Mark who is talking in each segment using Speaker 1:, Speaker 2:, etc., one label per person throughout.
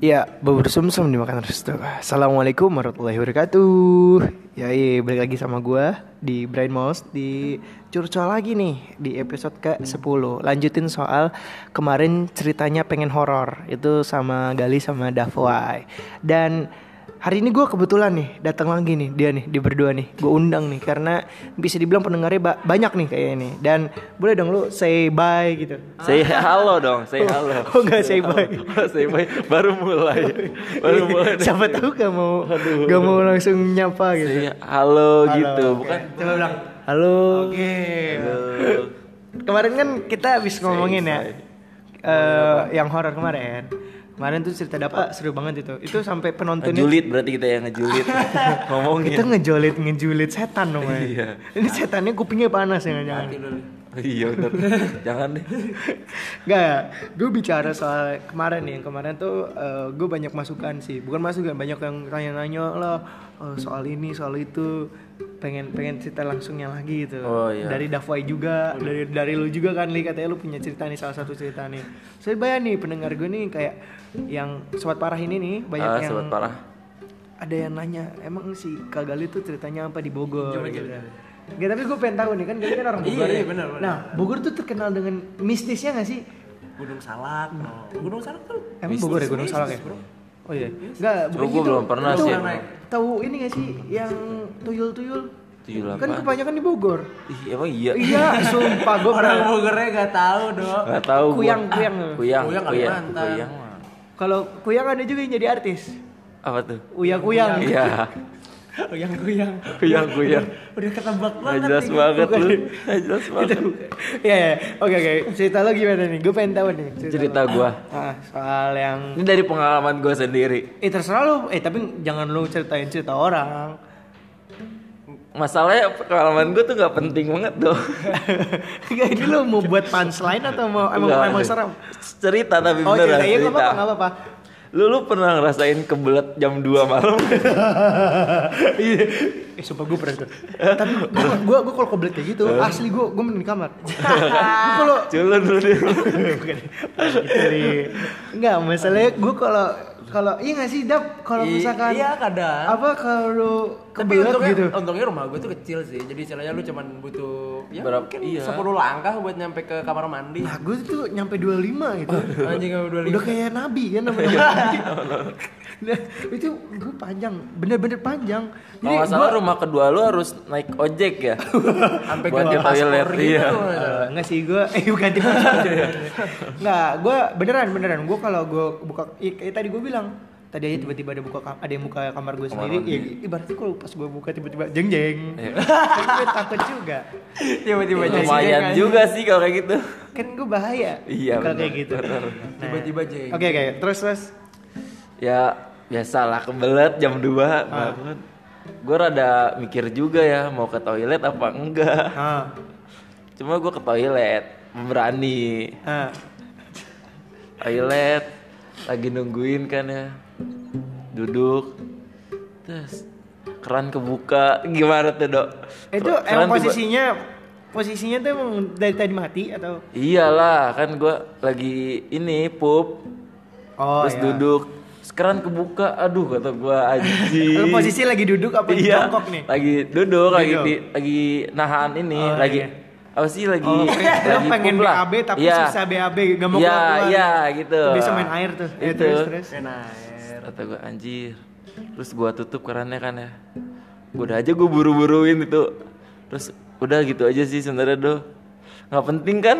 Speaker 1: Ya, bubur sumsum dimakan restu. Assalamualaikum warahmatullahi wabarakatuh. Yai, balik lagi sama gua di Brain Mouse di curcol lagi nih di episode ke-10. Lanjutin soal kemarin ceritanya pengen horor itu sama Gali sama Davwai. Dan hari ini gua kebetulan nih datang lagi nih dia nih di berdua nih. Gua undang nih karena bisa dibilang pendengarnya ba- banyak nih kayaknya nih. Dan boleh dong lu say bye gitu.
Speaker 2: Say halo dong, say halo.
Speaker 1: Oh, nggak say bye. Oh, iya.
Speaker 2: Oh, say bye. Baru mulai. Baru mulai. deh.
Speaker 1: Siapa tahu gak mau gak mau langsung nyapa gitu.
Speaker 2: Say Iya, halo gitu,
Speaker 1: oke.
Speaker 2: bukan.
Speaker 1: Coba bilang halo. Oke. Kemarin kan kita habis ngomongin ya. eh, yang horor kemarin. Kemarin tuh cerita dapat seru banget itu. Itu sampai penontonnya
Speaker 2: Ngejulit berarti kita yang ngejulit. Ngomongin.
Speaker 1: kita ngejolit ngejulit setan dong. Mai.
Speaker 2: Iya.
Speaker 1: Ini setannya kupingnya panas ya jangan.
Speaker 2: Iya bener. Jangan deh.
Speaker 1: Gak, gue bicara soal kemarin nih, yang kemarin tuh gue banyak masukan sih, bukan masukan banyak yang tanya-tanya lah eh, soal ini soal itu, pengen pengen cerita langsungnya lagi gitu.
Speaker 2: Oh, iya.
Speaker 1: Dari Davai juga, dari dari lu juga kan, li katanya lu punya cerita nih salah satu cerita nih. Saya bayang nih pendengar gue nih kayak yang sobat parah ini nih banyak
Speaker 2: Ah,
Speaker 1: yang
Speaker 2: sobat parah.
Speaker 1: ada yang nanya emang si Kagali tuh ceritanya apa di Bogor gitu. Nggak, tapi gue pengen tahu nih kan Gali kan orang Bogor. ya. Nah, Bogor tuh terkenal dengan mistisnya gak sih?
Speaker 3: Gunung Salak.
Speaker 1: Hmm.
Speaker 3: oh. Gunung Salak tuh
Speaker 1: Emang Bogor ya Gunung Salak ya? Oh iya. Enggak, bukan
Speaker 2: gua
Speaker 1: gitu.
Speaker 2: belum pernah
Speaker 1: Tahu-
Speaker 2: sih.
Speaker 1: Tahu ini gak sih yang tuyul-tuyul?
Speaker 2: Tuyul
Speaker 1: Kan
Speaker 2: apaan?
Speaker 1: kebanyakan di Bogor.
Speaker 2: Ih, emang iya.
Speaker 1: Iya, sumpah gue
Speaker 3: orang Bogornya gak tahu dong.
Speaker 2: Enggak tahu gua.
Speaker 1: Kuyang, kuyang.
Speaker 2: Kuyang,
Speaker 3: Kuyang
Speaker 2: kuyang.
Speaker 3: Kalimantan.
Speaker 2: Kuyang. mah.
Speaker 1: Kalau kuyang ada juga yang jadi artis.
Speaker 2: Apa tuh?
Speaker 1: Uya kuyang.
Speaker 2: Iya.
Speaker 3: Yang kuyang.
Speaker 2: Kuyang, kuyang.
Speaker 3: Udah ketebak
Speaker 2: Nggak
Speaker 3: banget.
Speaker 2: jelas
Speaker 3: nih.
Speaker 2: banget lu. Nggak jelas banget.
Speaker 1: Iya, iya. Oke, oke. Cerita lo gimana nih? Gue pengen tahu nih.
Speaker 2: Cerita
Speaker 1: lo.
Speaker 2: gua.
Speaker 1: Ah, soal yang
Speaker 2: Ini dari pengalaman gua sendiri.
Speaker 1: Eh terserah lu, eh tapi jangan lu ceritain cerita orang.
Speaker 2: Masalahnya pengalaman gue tuh nggak penting banget dong.
Speaker 1: Enggak ini lu mau buat punchline atau mau emang
Speaker 2: Nggak.
Speaker 1: emang serem?
Speaker 2: Cerita tapi
Speaker 1: Oh
Speaker 2: beneran
Speaker 1: cerita, iya nggak apa-apa, nggak apa-apa.
Speaker 2: Lu lu pernah ngerasain kebelet jam 2 malam?
Speaker 1: Iya. eh sumpah gue pernah tuh. Tapi gue gue gue kalau kebelet kayak gitu, asli gue gue mending di kamar. Gue kalau
Speaker 2: Culun lu dia.
Speaker 1: Bukan. Gitu, Li. Enggak, masalahnya gue kalau kalau iya nggak sih dap kalau
Speaker 3: I-
Speaker 1: misalkan
Speaker 3: iya, kadang.
Speaker 1: apa kalau lu
Speaker 3: Tapi
Speaker 1: kebelet
Speaker 3: untungnya,
Speaker 1: gitu.
Speaker 3: untungnya rumah gue tuh kecil sih. Jadi istilahnya lu cuman butuh ya
Speaker 2: Berapa-
Speaker 3: mungkin
Speaker 2: iya.
Speaker 3: 10 langkah buat nyampe ke kamar mandi.
Speaker 1: Nah gue tuh nyampe 25 gitu.
Speaker 3: Anjing sama dua
Speaker 1: Udah kayak nabi kan namanya. nah, itu gue panjang, bener-bener panjang.
Speaker 2: Kalau nggak salah rumah kedua lu harus naik ojek ya.
Speaker 3: Sampai
Speaker 2: Buat
Speaker 3: ganti
Speaker 2: ke toilet,
Speaker 3: paspor gitu.
Speaker 2: iya.
Speaker 1: Eh, enggak sih gue eh bukan tipe enggak gue beneran beneran gue kalau gue buka i- kayak tadi gue bilang tadi aja tiba-tiba ada buka kam- ada yang buka kamar gue sendiri ya ibaratnya kalau pas gue buka tiba-tiba jeng jeng gue takut juga
Speaker 3: Tiba-tiba
Speaker 1: Iya.
Speaker 3: jeng.
Speaker 2: Lumayan
Speaker 1: jangan.
Speaker 2: juga sih kalau kayak gitu.
Speaker 1: kan gue bahaya
Speaker 2: Iya,
Speaker 1: kalau kayak
Speaker 2: bener,
Speaker 1: gitu
Speaker 2: bener.
Speaker 1: Nah,
Speaker 3: Tiba-tiba jeng.
Speaker 1: oke oke terus terus
Speaker 2: Ya biasalah kebelet jam 2
Speaker 1: Ah.
Speaker 2: bangun. Gue rada mikir juga ya mau ke toilet apa enggak.
Speaker 1: ah
Speaker 2: Cuma gue ke toilet, berani.
Speaker 1: ah
Speaker 2: toilet lagi nungguin kan ya duduk terus keran kebuka gimana tuh dok
Speaker 1: itu
Speaker 2: Keran
Speaker 1: emang
Speaker 2: tiba-
Speaker 1: posisinya posisinya tuh emang dari tadi mati atau
Speaker 2: iyalah kan gua lagi ini pup
Speaker 1: oh
Speaker 2: terus duduk terus keran kebuka aduh kata gua anjing
Speaker 1: Lu posisi lagi duduk apa
Speaker 2: iya
Speaker 1: jongkok nih
Speaker 2: lagi duduk, lagi
Speaker 1: Duduk.
Speaker 2: di- lagi nahan ini
Speaker 1: Oh,
Speaker 2: lagi
Speaker 1: iya.
Speaker 2: apa sih lagi
Speaker 1: Oh, lo
Speaker 2: lagi
Speaker 1: pengen
Speaker 2: pup lah.
Speaker 1: BAB tapi
Speaker 2: Iya.
Speaker 1: susah BAB gak mau
Speaker 2: Iya,
Speaker 1: keluar
Speaker 2: iya gitu.
Speaker 1: Bisa main air tuh. Ya,
Speaker 2: Itu.
Speaker 1: terus terus.
Speaker 3: Enak.
Speaker 2: Kata gue anjir Terus gua tutup kerannya kan ya Gua Udah aja gue buru-buruin itu Terus udah gitu aja sih sebenarnya do Gak penting kan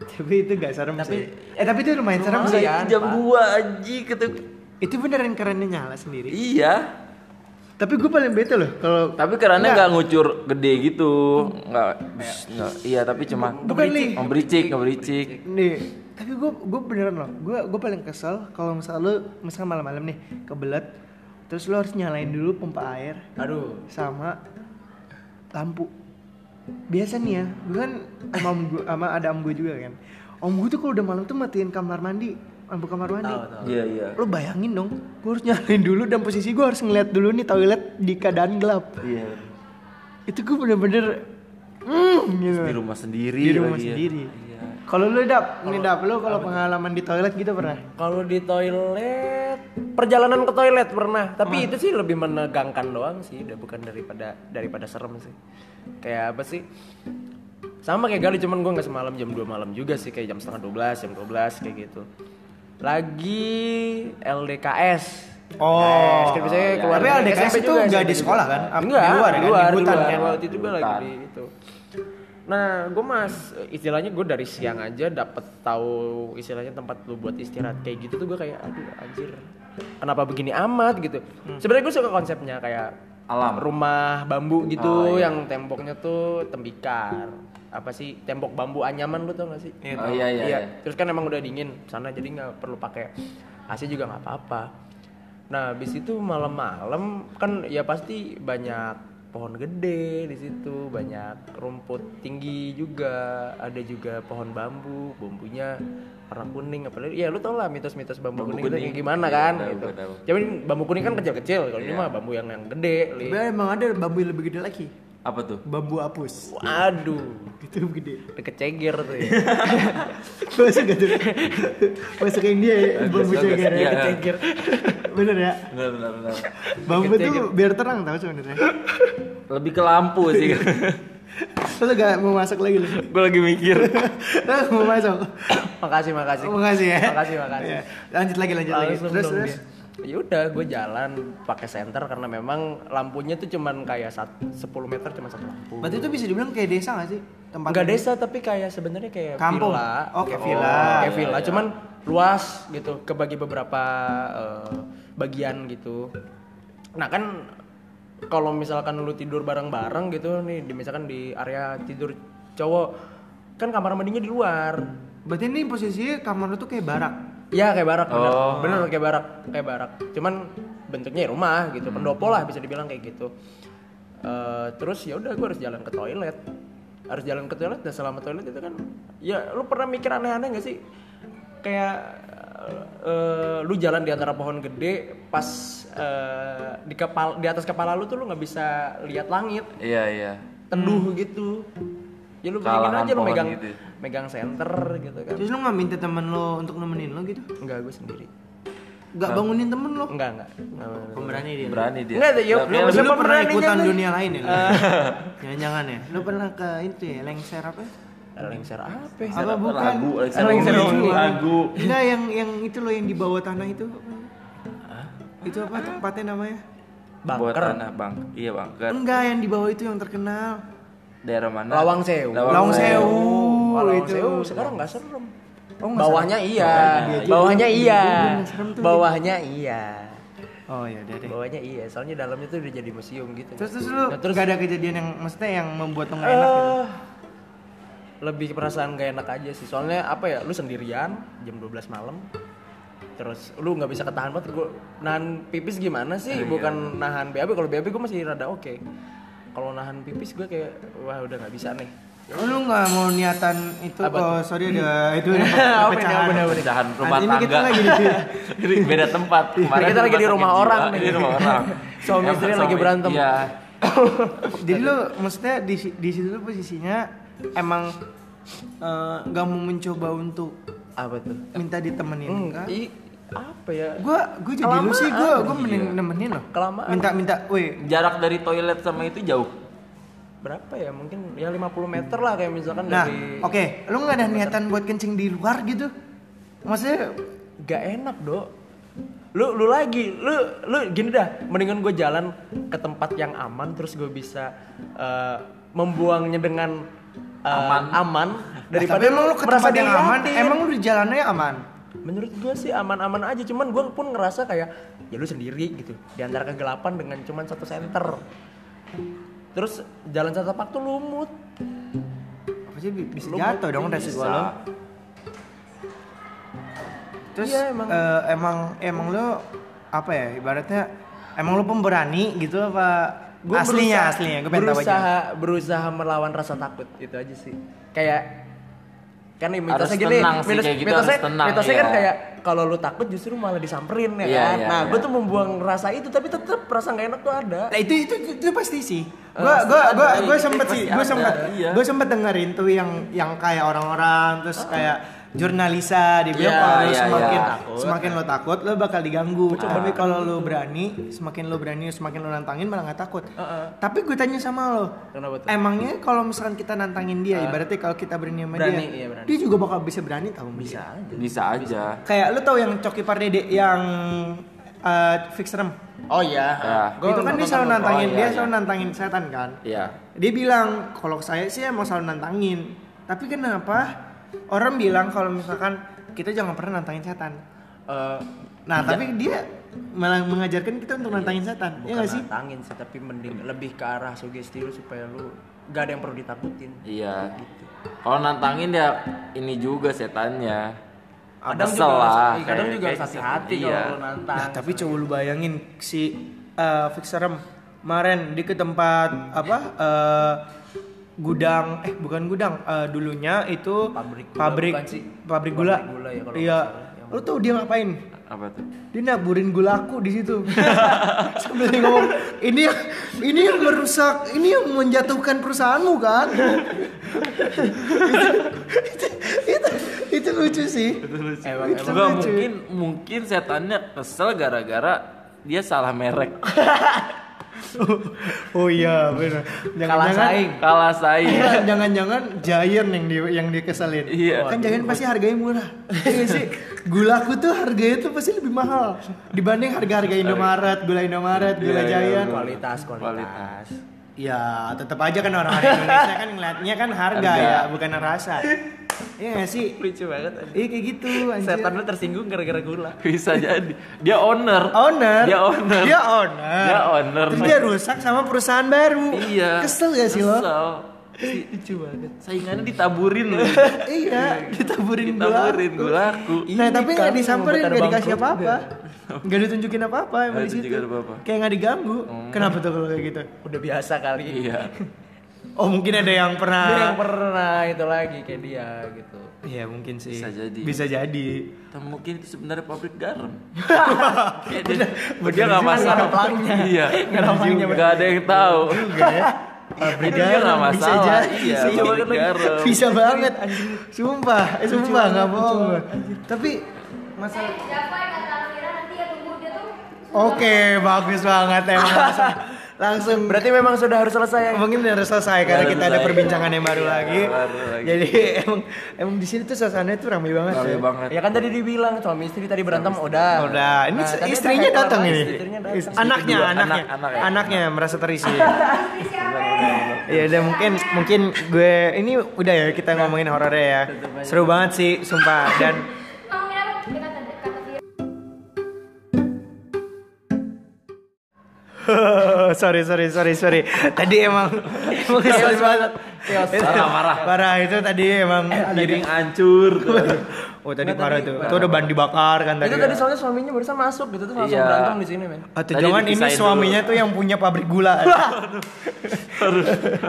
Speaker 1: Tapi itu gak serem sih. Eh tapi itu lumayan serem sih.
Speaker 3: Lumayan. Kan,
Speaker 2: Jam
Speaker 3: Pak.
Speaker 2: 2 anjing kata gua.
Speaker 1: Itu beneran kerannya nyala sendiri.
Speaker 2: Iya
Speaker 1: Tapi gue paling bete loh kalau
Speaker 2: Tapi kerannya gak ngucur gede gitu Gak, Iya tapi cuma
Speaker 1: bukan nih.
Speaker 2: Ngebericik, ngebericik
Speaker 1: Nih, tapi gue gue beneran loh. Gue gue paling kesel kalau misalnya lu misalnya malam-malam nih kebelet terus lu harus nyalain dulu pompa air
Speaker 3: Aduh.
Speaker 1: sama lampu biasa nih ya gue kan sama om gua- sama ada om gue juga kan om gue tuh kalau udah malam tuh matiin kamar mandi lampu kamar mandi
Speaker 3: Tahu, tahu.
Speaker 2: Iya iya
Speaker 1: lo bayangin dong gue harus nyalain dulu dan posisi gue harus ngeliat dulu nih toilet di keadaan gelap
Speaker 2: Iya
Speaker 1: itu gue bener-bener mm, gitu
Speaker 2: Di rumah sendiri
Speaker 1: di rumah
Speaker 2: lagi ya.
Speaker 1: sendiri kalau lu dap nih dap lu kalau pengalaman di toilet gitu pernah
Speaker 3: Kalau di toilet perjalanan ke toilet pernah tapi itu sih lebih menegangkan doang sih udah bukan daripada daripada serem sih kayak apa sih sama kayak Gali cuman gue nggak semalam jam 2 malam juga sih kayak jam setengah 12 jam 12 kayak gitu lagi LDKS
Speaker 1: Oh.
Speaker 3: LDKS, kan biasanya keluar
Speaker 1: Tapi
Speaker 3: dari
Speaker 1: LDKS
Speaker 3: SMP
Speaker 1: itu
Speaker 3: juga,
Speaker 1: nggak
Speaker 3: SMP
Speaker 1: di sekolah
Speaker 3: juga.
Speaker 1: kan? Apa,
Speaker 3: Enggak,
Speaker 1: di luar kan? Di
Speaker 3: luar, di
Speaker 1: hutan
Speaker 3: luar.
Speaker 1: kan?
Speaker 3: Waktu itu gue lagi di itu. Nah, gue mas, istilahnya gue dari siang aja dapet tahu istilahnya tempat lu buat istirahat kayak gitu tuh gue kayak aduh anjir kenapa begini amat gitu. Sebenarnya gue suka konsepnya kayak
Speaker 2: Alam.
Speaker 3: rumah bambu
Speaker 2: Oh,
Speaker 3: gitu
Speaker 2: iya.
Speaker 3: yang temboknya tuh tembikar apa sih tembok bambu anyaman lu tau gak sih?
Speaker 2: Oh, iya, iya, iya.
Speaker 3: Terus kan emang udah dingin sana jadi nggak perlu pakai AC juga nggak apa-apa. Nah, habis itu malam-malam kan ya pasti banyak pohon gede di situ, banyak rumput tinggi juga, ada juga pohon bambu, bambunya warna kuning apalagi ya lu tau lah mitos-mitos bambu,
Speaker 2: Bambu
Speaker 3: kuning, itu
Speaker 2: kuning.
Speaker 3: kayak gimana
Speaker 2: Iya,
Speaker 3: kan
Speaker 2: tahu,
Speaker 3: gitu.
Speaker 2: gua tahu. Iya.
Speaker 3: Cuman bambu kuning kan kecil-kecil, kalau ini mah bambu yang yang gede. Li.
Speaker 1: Tapi emang ada bambu yang lebih gede lagi.
Speaker 2: Apa tuh?
Speaker 1: Bambu apus.
Speaker 3: Waduh,
Speaker 1: Itu gede.
Speaker 3: deket ceger tuh ya.
Speaker 1: Masuk gak tuh? Masuk yang dia ya, bambu
Speaker 2: Bagus, bagus.
Speaker 1: ceger ya.
Speaker 2: Iya, iya.
Speaker 1: Bener ya?
Speaker 2: Benar, benar, benar.
Speaker 1: Bambu tuh biar terang tau sebenarnya.
Speaker 2: Lebih ke lampu sih.
Speaker 1: Terus gak mau masuk lagi lu.
Speaker 2: gue lagi mikir.
Speaker 1: Terus mau masuk.
Speaker 3: makasih, makasih.
Speaker 1: Makasih ya.
Speaker 3: Makasih, makasih.
Speaker 1: Iya. Lanjut lagi lanjut lagi.
Speaker 3: Langsung
Speaker 1: Terus
Speaker 3: dong
Speaker 1: terus.
Speaker 3: dia. Ya udah, gue jalan pakai senter karena memang lampunya tuh cuman kayak sat- 10 meter cuma satu lampu.
Speaker 1: Berarti itu bisa dibilang kayak desa gak sih? Tempat
Speaker 3: Enggak desa tapi kayak sebenarnya kayak
Speaker 1: Kampung.
Speaker 3: villa.
Speaker 1: Oh, kayak villa. iya.
Speaker 3: Kayak villa, cuman luas gitu, kebagi beberapa eh, bagian gitu. Nah, kan kalau misalkan lu tidur bareng-bareng gitu nih, di, misalkan di area tidur cowok, kan kamar mandinya di luar.
Speaker 1: Berarti ini posisinya kamar lu tuh kayak barak.
Speaker 3: Iya kayak barak bener.
Speaker 2: Oh.
Speaker 3: bener kayak barak kayak barak cuman bentuknya ya rumah gitu pendopo lah bisa dibilang kayak gitu Eh, terus ya udah gue harus jalan ke toilet harus jalan ke toilet dan selama toilet itu kan ya lu pernah mikir aneh-aneh gak sih kayak eh, lu jalan di antara pohon gede pas eh, di kepala di atas kepala lu tuh lu nggak bisa lihat langit
Speaker 2: Iya, iya.
Speaker 3: teduh gitu ya lu bayangin
Speaker 2: Kalangan
Speaker 3: aja lu
Speaker 2: pohon
Speaker 3: megang
Speaker 2: gitu.
Speaker 3: megang senter gitu kan
Speaker 1: Terus lu gak minta temen lu untuk nemenin lu gitu?
Speaker 3: enggak gue sendiri
Speaker 1: Gak bangunin temen lu?
Speaker 3: Enggak, enggak. Enggak, enggak, enggak.
Speaker 1: Pemberani dia.
Speaker 2: Berani dia.
Speaker 3: Enggak, yuk,
Speaker 2: Tapi yang
Speaker 3: Eh, lu-
Speaker 1: Lu
Speaker 3: Siapa
Speaker 1: pernah
Speaker 3: beraninya
Speaker 1: ikutan
Speaker 3: lu?
Speaker 1: dunia lain ya? lu? Jangan-jangan ya? Lu pernah ke itu ya, lengser apa?
Speaker 3: Lengser
Speaker 1: Hmm.
Speaker 3: apa? ya?
Speaker 1: Apa bukan?
Speaker 2: lagu, lengser
Speaker 1: Apa
Speaker 2: lagu,
Speaker 1: itu?
Speaker 2: lagu.
Speaker 1: Enggak, yang yang itu loh yang di bawah tanah itu. apa? Itu apa tempatnya namanya?
Speaker 2: Buat tanah, Bang. Iya, Bangker.
Speaker 1: Enggak, yang di bawah itu yang terkenal.
Speaker 2: Daerah mana?
Speaker 3: Lawang Sewu.
Speaker 2: Lawang,
Speaker 1: Lawang
Speaker 2: Sewu.
Speaker 1: Sewu.
Speaker 3: Oh, Lawang
Speaker 1: itu.
Speaker 3: Sewu sekarang enggak serem.
Speaker 1: Oh, nggak
Speaker 3: bawahnya iya.
Speaker 1: Iya,
Speaker 3: Bawahnya
Speaker 1: iya,
Speaker 3: iya.
Speaker 1: iya, nggak serem tuh.
Speaker 3: Bawahnya iya.
Speaker 1: Oh ya deh.
Speaker 3: Bawahnya iya. Soalnya dalamnya tuh udah jadi museum gitu.
Speaker 1: Terus terus lu terus
Speaker 3: Nah, terus
Speaker 1: gak ada kejadian yang maksudnya yang membuat lu gak enak gitu.
Speaker 3: Eh, lebih perasaan gak enak aja sih. Soalnya apa ya? Lu sendirian jam 12 malam. Terus lu nggak bisa ketahan banget gua nahan pipis gimana sih?
Speaker 1: Iya.
Speaker 3: Bukan nahan BAB. Kalau BAB gue masih rada oke. Kalau nahan pipis gue kayak wah udah nggak bisa nih.
Speaker 1: Oh, Lu gak mau niatan itu
Speaker 3: Apa Hmm.
Speaker 1: oh sorry ada itu ada
Speaker 3: Apa ini,
Speaker 1: pecahan.
Speaker 3: apa ini, apa
Speaker 2: Pecahan rumah
Speaker 1: Nah, ini
Speaker 2: tangga.
Speaker 1: kita lagi di
Speaker 2: Jadi beda tempat. Kemarin
Speaker 3: kita lagi di
Speaker 2: sakit
Speaker 3: rumah
Speaker 2: jiwa,
Speaker 3: orang nih.
Speaker 2: Di rumah orang.
Speaker 3: Suami
Speaker 2: Emang
Speaker 3: istri lagi berantem.
Speaker 2: Iya.
Speaker 1: Jadi lu maksudnya di si- di situ tuh posisinya emang eh, gak mau mencoba untuk
Speaker 3: Apa tuh?
Speaker 1: minta
Speaker 3: Hmm,
Speaker 1: ditemenin kan?
Speaker 3: I, apa ya?
Speaker 1: Gue gue jadi lu sih gue gue mending
Speaker 2: Iya.
Speaker 1: nemenin loh.
Speaker 3: Kelamaan.
Speaker 1: Minta minta, weh
Speaker 2: Jarak dari toilet sama itu jauh.
Speaker 3: Berapa ya? Mungkin ya 50 meter lah kayak misalkan
Speaker 1: Nah,
Speaker 3: dari
Speaker 1: oke, lu nggak ada niatan buat kencing di luar gitu? Maksudnya
Speaker 3: Gak enak, Dok. Lu lu lagi, lu lu gini dah, mendingan gue jalan ke tempat yang aman terus gue bisa eh, membuangnya dengan eh,
Speaker 2: Aman.
Speaker 3: aman
Speaker 1: daripada
Speaker 3: daripada
Speaker 1: emang Nah, lu ke tempat yang aman,
Speaker 3: diliatin.
Speaker 1: emang lu di jalannya aman.
Speaker 3: menurut gue sih aman-aman aja cuman gue pun ngerasa kayak ya lu sendiri gitu di antara kegelapan dengan cuman satu senter terus jalan setapak tuh lumut
Speaker 1: Apa sih bi- bisa
Speaker 3: Lu
Speaker 1: jatuh
Speaker 3: mungkin
Speaker 1: dong dari
Speaker 2: bisa.
Speaker 1: gua lo. Terus
Speaker 3: Iya,
Speaker 1: emang.
Speaker 3: emang.
Speaker 1: emang emang lu apa ya ibaratnya emang lu pemberani gitu apa
Speaker 3: Gua
Speaker 1: aslinya
Speaker 3: berusaha-
Speaker 1: aslinya gue pengen tahu aja.
Speaker 3: berusaha berusaha melawan rasa takut itu aja sih kayak kan nih,
Speaker 2: Harus
Speaker 3: mitosnya gini
Speaker 2: tenang sih,
Speaker 3: mitos-
Speaker 2: kayak gitu
Speaker 3: mitosnya,
Speaker 2: harus tenang,
Speaker 3: mitosnya kan
Speaker 2: iya.
Speaker 3: kayak kalau lu takut justru malah disamperin ya
Speaker 2: Iya,
Speaker 3: kan
Speaker 2: iya,
Speaker 3: nah gue
Speaker 2: iya.
Speaker 3: tuh membuang rasa itu tapi tetep rasa nggak enak tuh ada
Speaker 1: Nah, itu, itu itu itu pasti sih. Gua gua
Speaker 2: pasti
Speaker 1: gua
Speaker 2: Eh, ada,
Speaker 1: gua
Speaker 2: itu
Speaker 1: sempet
Speaker 2: pasti
Speaker 1: sih, gua
Speaker 2: ada,
Speaker 1: sempet
Speaker 2: iya.
Speaker 1: gua sempet dengerin tuh yang yang kayak orang-orang terus kayak jurnalisa dia bilang
Speaker 2: Iya,
Speaker 1: kalau lu
Speaker 2: iya,
Speaker 1: semakin
Speaker 2: iya.
Speaker 3: Takut.
Speaker 1: semakin lo takut lo bakal diganggu tapi kalau lo berani semakin lo berani semakin lo nantangin malah nggak takut tapi gue tanya sama lo
Speaker 3: Kenapa tuh?
Speaker 1: emangnya kalau misalkan kita nantangin dia ibaratnya kalau kita berani sama
Speaker 3: Berani,
Speaker 1: dia
Speaker 3: iya, berani.
Speaker 1: dia juga bakal bisa berani tau bisa
Speaker 2: Bisa aja.
Speaker 1: kayak lo tau yang Coki Pardede yang eh, fix rem
Speaker 3: Oh iya.
Speaker 2: Ya.
Speaker 3: Gua
Speaker 1: itu kan dia
Speaker 3: nonton
Speaker 1: selalu
Speaker 3: dulu.
Speaker 1: nantangin
Speaker 2: Oh, iya,
Speaker 1: dia
Speaker 2: iya.
Speaker 1: selalu nantangin setan kan
Speaker 2: Iya.
Speaker 1: dia bilang kalau saya sih emang selalu nantangin tapi kenapa orang bilang kalau misalkan kita jangan pernah nantangin setan
Speaker 3: Eh,
Speaker 1: nah tapi dia malah mengajarkan kita untuk nantangin setan ya
Speaker 3: bukan
Speaker 1: nggak sih
Speaker 3: nantangin sih tapi mending lebih ke arah sugesti lu supaya lu gak ada yang perlu ditakutin
Speaker 2: Iya. Kalau nantangin ya ini juga setannya.
Speaker 3: kadang
Speaker 2: Ah, Kesel
Speaker 3: juga
Speaker 2: lah,
Speaker 3: harus- kadang
Speaker 2: kayak-
Speaker 3: juga harus
Speaker 2: kayak
Speaker 3: hati-hati
Speaker 2: iya.
Speaker 3: kalau lu nantang
Speaker 1: Nah, tapi coba lu bayangin si eh, fixerem kemarin di ke tempat apa eh, gudang eh bukan gudang eh, dulunya itu
Speaker 3: Pabrik gula,
Speaker 1: pabrik
Speaker 3: bukan sih?
Speaker 1: pabrik gula,
Speaker 3: Pabrik gula ya kalau nggak
Speaker 1: iya
Speaker 3: salah, yang-
Speaker 1: lu tau dia ngapain
Speaker 2: Apa tuh?
Speaker 1: dia naburin gula aku di situ sambil dia ngomong ini ini yang merusak ini yang menjatuhkan perusahaanmu kan itu, itu, itu lucu sih
Speaker 3: emang
Speaker 1: Itu
Speaker 2: Enggak
Speaker 1: lucu.
Speaker 2: mungkin mungkin setannya kesel gara-gara dia salah merek.
Speaker 1: oh iya benar
Speaker 3: kalah saing
Speaker 2: Kalah saing.
Speaker 1: jangan-jangan Giant yang dia yang dikeselin
Speaker 2: Iya.
Speaker 1: kan Giant pasti harganya murah iya sih gulaku tuh harganya tuh pasti lebih mahal dibanding harga-harga Indomaret gula Indomaret gula
Speaker 2: Iya, iya,
Speaker 1: Giant
Speaker 3: kualitas kualitas
Speaker 2: Kualitas.
Speaker 1: Ya, tetap aja kan orang Indonesia kan ngeliatnya kan harga,
Speaker 2: Harga.
Speaker 1: ya, bukan rasa. Iya gak sih?
Speaker 3: lucu banget
Speaker 1: Iya kayak gitu anjir.
Speaker 3: setan lu tersinggung gara-gara gula
Speaker 2: Bisa jadi. Dia owner.
Speaker 3: Oh,
Speaker 1: owner.
Speaker 2: Dia Ya, owner.
Speaker 1: Dia owner.
Speaker 2: Dia owner.
Speaker 1: Terus dia rusak sama perusahaan baru.
Speaker 2: Iya.
Speaker 1: Kesel gak sih lo?
Speaker 2: Kesel.
Speaker 1: Lucu banget.
Speaker 2: Saingannya ditaburin.
Speaker 1: Iya, ditaburin gula.
Speaker 2: ditaburin gulaku.
Speaker 1: Nah,
Speaker 3: Ini
Speaker 1: tapi nggak
Speaker 3: kamu
Speaker 1: disamperin,
Speaker 3: mau
Speaker 1: nggak
Speaker 3: putar
Speaker 1: dikasih
Speaker 3: bangkrut
Speaker 1: apa-apa. Nggak ditunjukin apa-apa emang di
Speaker 2: Nggak
Speaker 1: situ.
Speaker 2: ditunjukin apa-apa. Hmm.
Speaker 1: Kayak nggak diganggu. Kenapa tuh kalau kayak gitu?
Speaker 3: udah biasa kali
Speaker 2: Iya.
Speaker 1: Oh, mungkin ada yang pernah
Speaker 3: dia yang pernah itu lagi kayak dia gitu
Speaker 1: Iya, mungkin sih.
Speaker 2: Bisa jadi.
Speaker 1: Bisa jadi.
Speaker 2: Atau mungkin itu sebenarnya pabrik garam. Kayak dia
Speaker 1: bener
Speaker 2: dia nggak
Speaker 1: juga.
Speaker 2: masalah.
Speaker 3: Nggak ada pelangnya.
Speaker 2: Iya.
Speaker 3: Nggak ada pelangnya, Iya.
Speaker 2: Nggak ada yang tahu.
Speaker 1: kan ya? pabrik
Speaker 2: Dia
Speaker 1: garam
Speaker 2: nggak
Speaker 1: bisa
Speaker 2: Iya, masalah,
Speaker 1: jadi
Speaker 2: iya,
Speaker 1: sih.
Speaker 2: pabrik garam.
Speaker 1: bisa banget sumpah eh, sumpah nggak bohong gua. tapi masalah
Speaker 4: Siapa yang kata Amira nanti ya tunggu dia tuh
Speaker 1: oke bagus banget emang langsung, langsung
Speaker 3: berarti memang sudah harus selesai
Speaker 1: mungkin udah harus selesai karena
Speaker 2: Baru
Speaker 1: kita ada
Speaker 2: selesai.
Speaker 1: perbincangan yang baru
Speaker 2: Iya,
Speaker 1: lagi
Speaker 2: baru lagi.
Speaker 1: jadi emang emang di sini tuh suasananya tuh ramai banget
Speaker 2: Rame
Speaker 1: ya.
Speaker 2: banget.
Speaker 3: ya kan tadi dibilang suami istri tadi berantem udah
Speaker 1: udah ini
Speaker 3: Nah, tadi
Speaker 1: istrinya
Speaker 3: ada
Speaker 1: datang
Speaker 3: orang,
Speaker 1: ini
Speaker 3: istrinya datang.
Speaker 1: Is- anaknya
Speaker 2: Kedua,
Speaker 1: anaknya
Speaker 2: anak- anak ya.
Speaker 1: anaknya merasa terisi
Speaker 4: istri siapa ya?
Speaker 1: Ya udah mungkin mungkin gue ini udah ya kita ngomongin horornya ya. Seru banget sih sumpah dan
Speaker 4: Kamu Mira apa? Dia kata kata dia.
Speaker 1: sorry sorry sorry sorry. Tadi emang emang kesel banget. Itu-
Speaker 2: Parah, parah.
Speaker 1: Parah itu tadi emang
Speaker 2: Giring hancur.
Speaker 1: Oh tadi
Speaker 3: Nggak,
Speaker 1: parah
Speaker 3: tadi
Speaker 1: itu.
Speaker 3: parah.
Speaker 1: Itu udah ban dibakar kan tadi.
Speaker 3: itu tadi soalnya suaminya barusan masuk gitu tuh langsung
Speaker 2: Iya.
Speaker 3: berantem di sini men
Speaker 1: Atau
Speaker 2: Tadi
Speaker 1: jangan ini
Speaker 2: dipisahin dulu.
Speaker 1: suaminya tuh yang punya pabrik gula. Iya,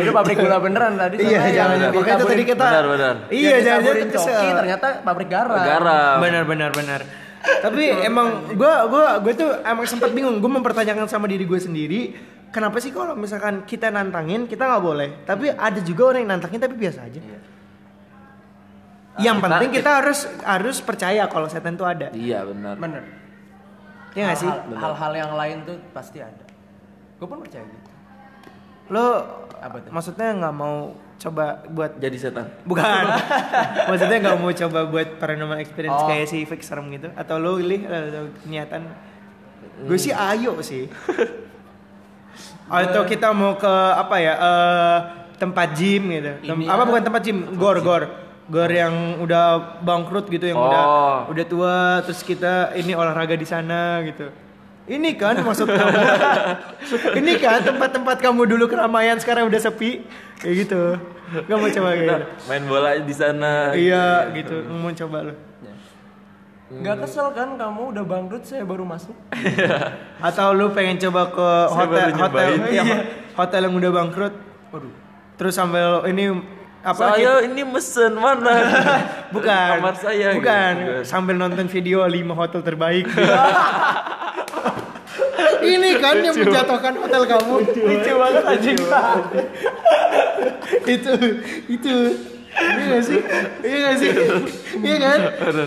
Speaker 3: itu pabrik gula beneran tadi
Speaker 1: iya
Speaker 3: soalnya
Speaker 1: jangan.
Speaker 3: yang
Speaker 1: Makanya itu tadi
Speaker 3: ditaburin-
Speaker 1: kita.
Speaker 2: Benar, benar.
Speaker 1: Iya
Speaker 3: yang
Speaker 1: jangan jangan
Speaker 3: ditaburin coki ternyata pabrik garam
Speaker 2: Garam.
Speaker 1: benar benar benar tapi emang gue gua gue tuh emang sempat bingung gue mempertanyakan sama diri gue sendiri kenapa sih kalau misalkan kita nantangin kita nggak boleh tapi ada juga orang yang nantangin tapi biasa aja
Speaker 3: Iya. Nah,
Speaker 1: yang
Speaker 2: Kita-
Speaker 1: penting kita harus harus percaya kalau setan tuh ada
Speaker 2: Iya benar.
Speaker 3: bener
Speaker 1: ya nggak sih
Speaker 3: Hal- hal-hal yang lain tuh pasti ada gue pun percaya gitu
Speaker 1: lo
Speaker 3: Apa tuh?
Speaker 1: maksudnya nggak mau coba buat
Speaker 2: Jadi setan.
Speaker 1: bukan maksudnya nggak mau coba buat paranormal experience
Speaker 3: Oh.
Speaker 1: kayak si fix serem gitu atau lo lih atau niatan gue sih ayo sih atau kita mau ke apa ya eh, tempat gym gitu Tem-
Speaker 3: Ini
Speaker 1: apa
Speaker 3: ya.
Speaker 1: bukan tempat gym gor gor gor yang udah bangkrut gitu yang udah
Speaker 2: Oh.
Speaker 1: udah tua terus kita ini olahraga di sana gitu ini kan maksud kamu ini kan tempat-tempat kamu dulu keramaian sekarang udah sepi kayak gitu gak mau coba kayak
Speaker 2: Benar.
Speaker 1: gitu
Speaker 2: Main bola di sana.
Speaker 1: iya gitu Nggak mau coba lo Hmm.
Speaker 3: Gak kesel kan kamu udah bangkrut saya baru masuk
Speaker 1: atau lu pengen coba ke
Speaker 2: Saya
Speaker 1: hotel
Speaker 2: baru
Speaker 1: hotel
Speaker 2: nyobain. Iya.
Speaker 1: yang hotel yang udah bangkrut
Speaker 3: waduh
Speaker 1: terus sambil ini apa
Speaker 2: saya
Speaker 1: gitu-
Speaker 2: ini mesen mana?
Speaker 1: bukan
Speaker 2: Kamar saya. gitu.
Speaker 1: bukan sambil nonton video 5 hotel terbaik ini kan yang menjatuhkan hotel kamu lucu banget anjing itu itu Iya gak sih? Iya gak sih? Iya kan?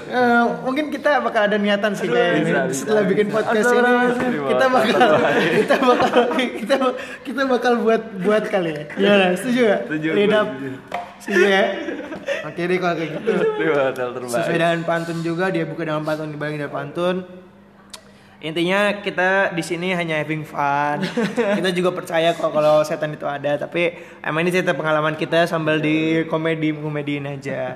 Speaker 1: Eh, mungkin kita bakal ada niatan sih kayak
Speaker 2: bisa, bisa,
Speaker 1: setelah bikin podcast ini kita bakal kita bakal kita kita bakal buat buat kali ya. Gimana? Setuju gak?
Speaker 2: Setuju, gue
Speaker 1: Read up.
Speaker 2: setuju.
Speaker 1: Setuju ya? Oke deh kalau kayak gitu.
Speaker 2: Di hotel terbaik.
Speaker 1: Sesuai dengan pantun juga dia buka dengan pantun dibalik dengan pantun. Intinya kita di sini hanya having fun. kita juga percaya kok kalau setan itu ada, tapi emang ini cerita pengalaman kita sambil di komedi komediin aja.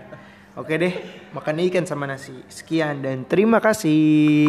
Speaker 1: Oke deh, makan ikan sama nasi. Sekian dan terima kasih.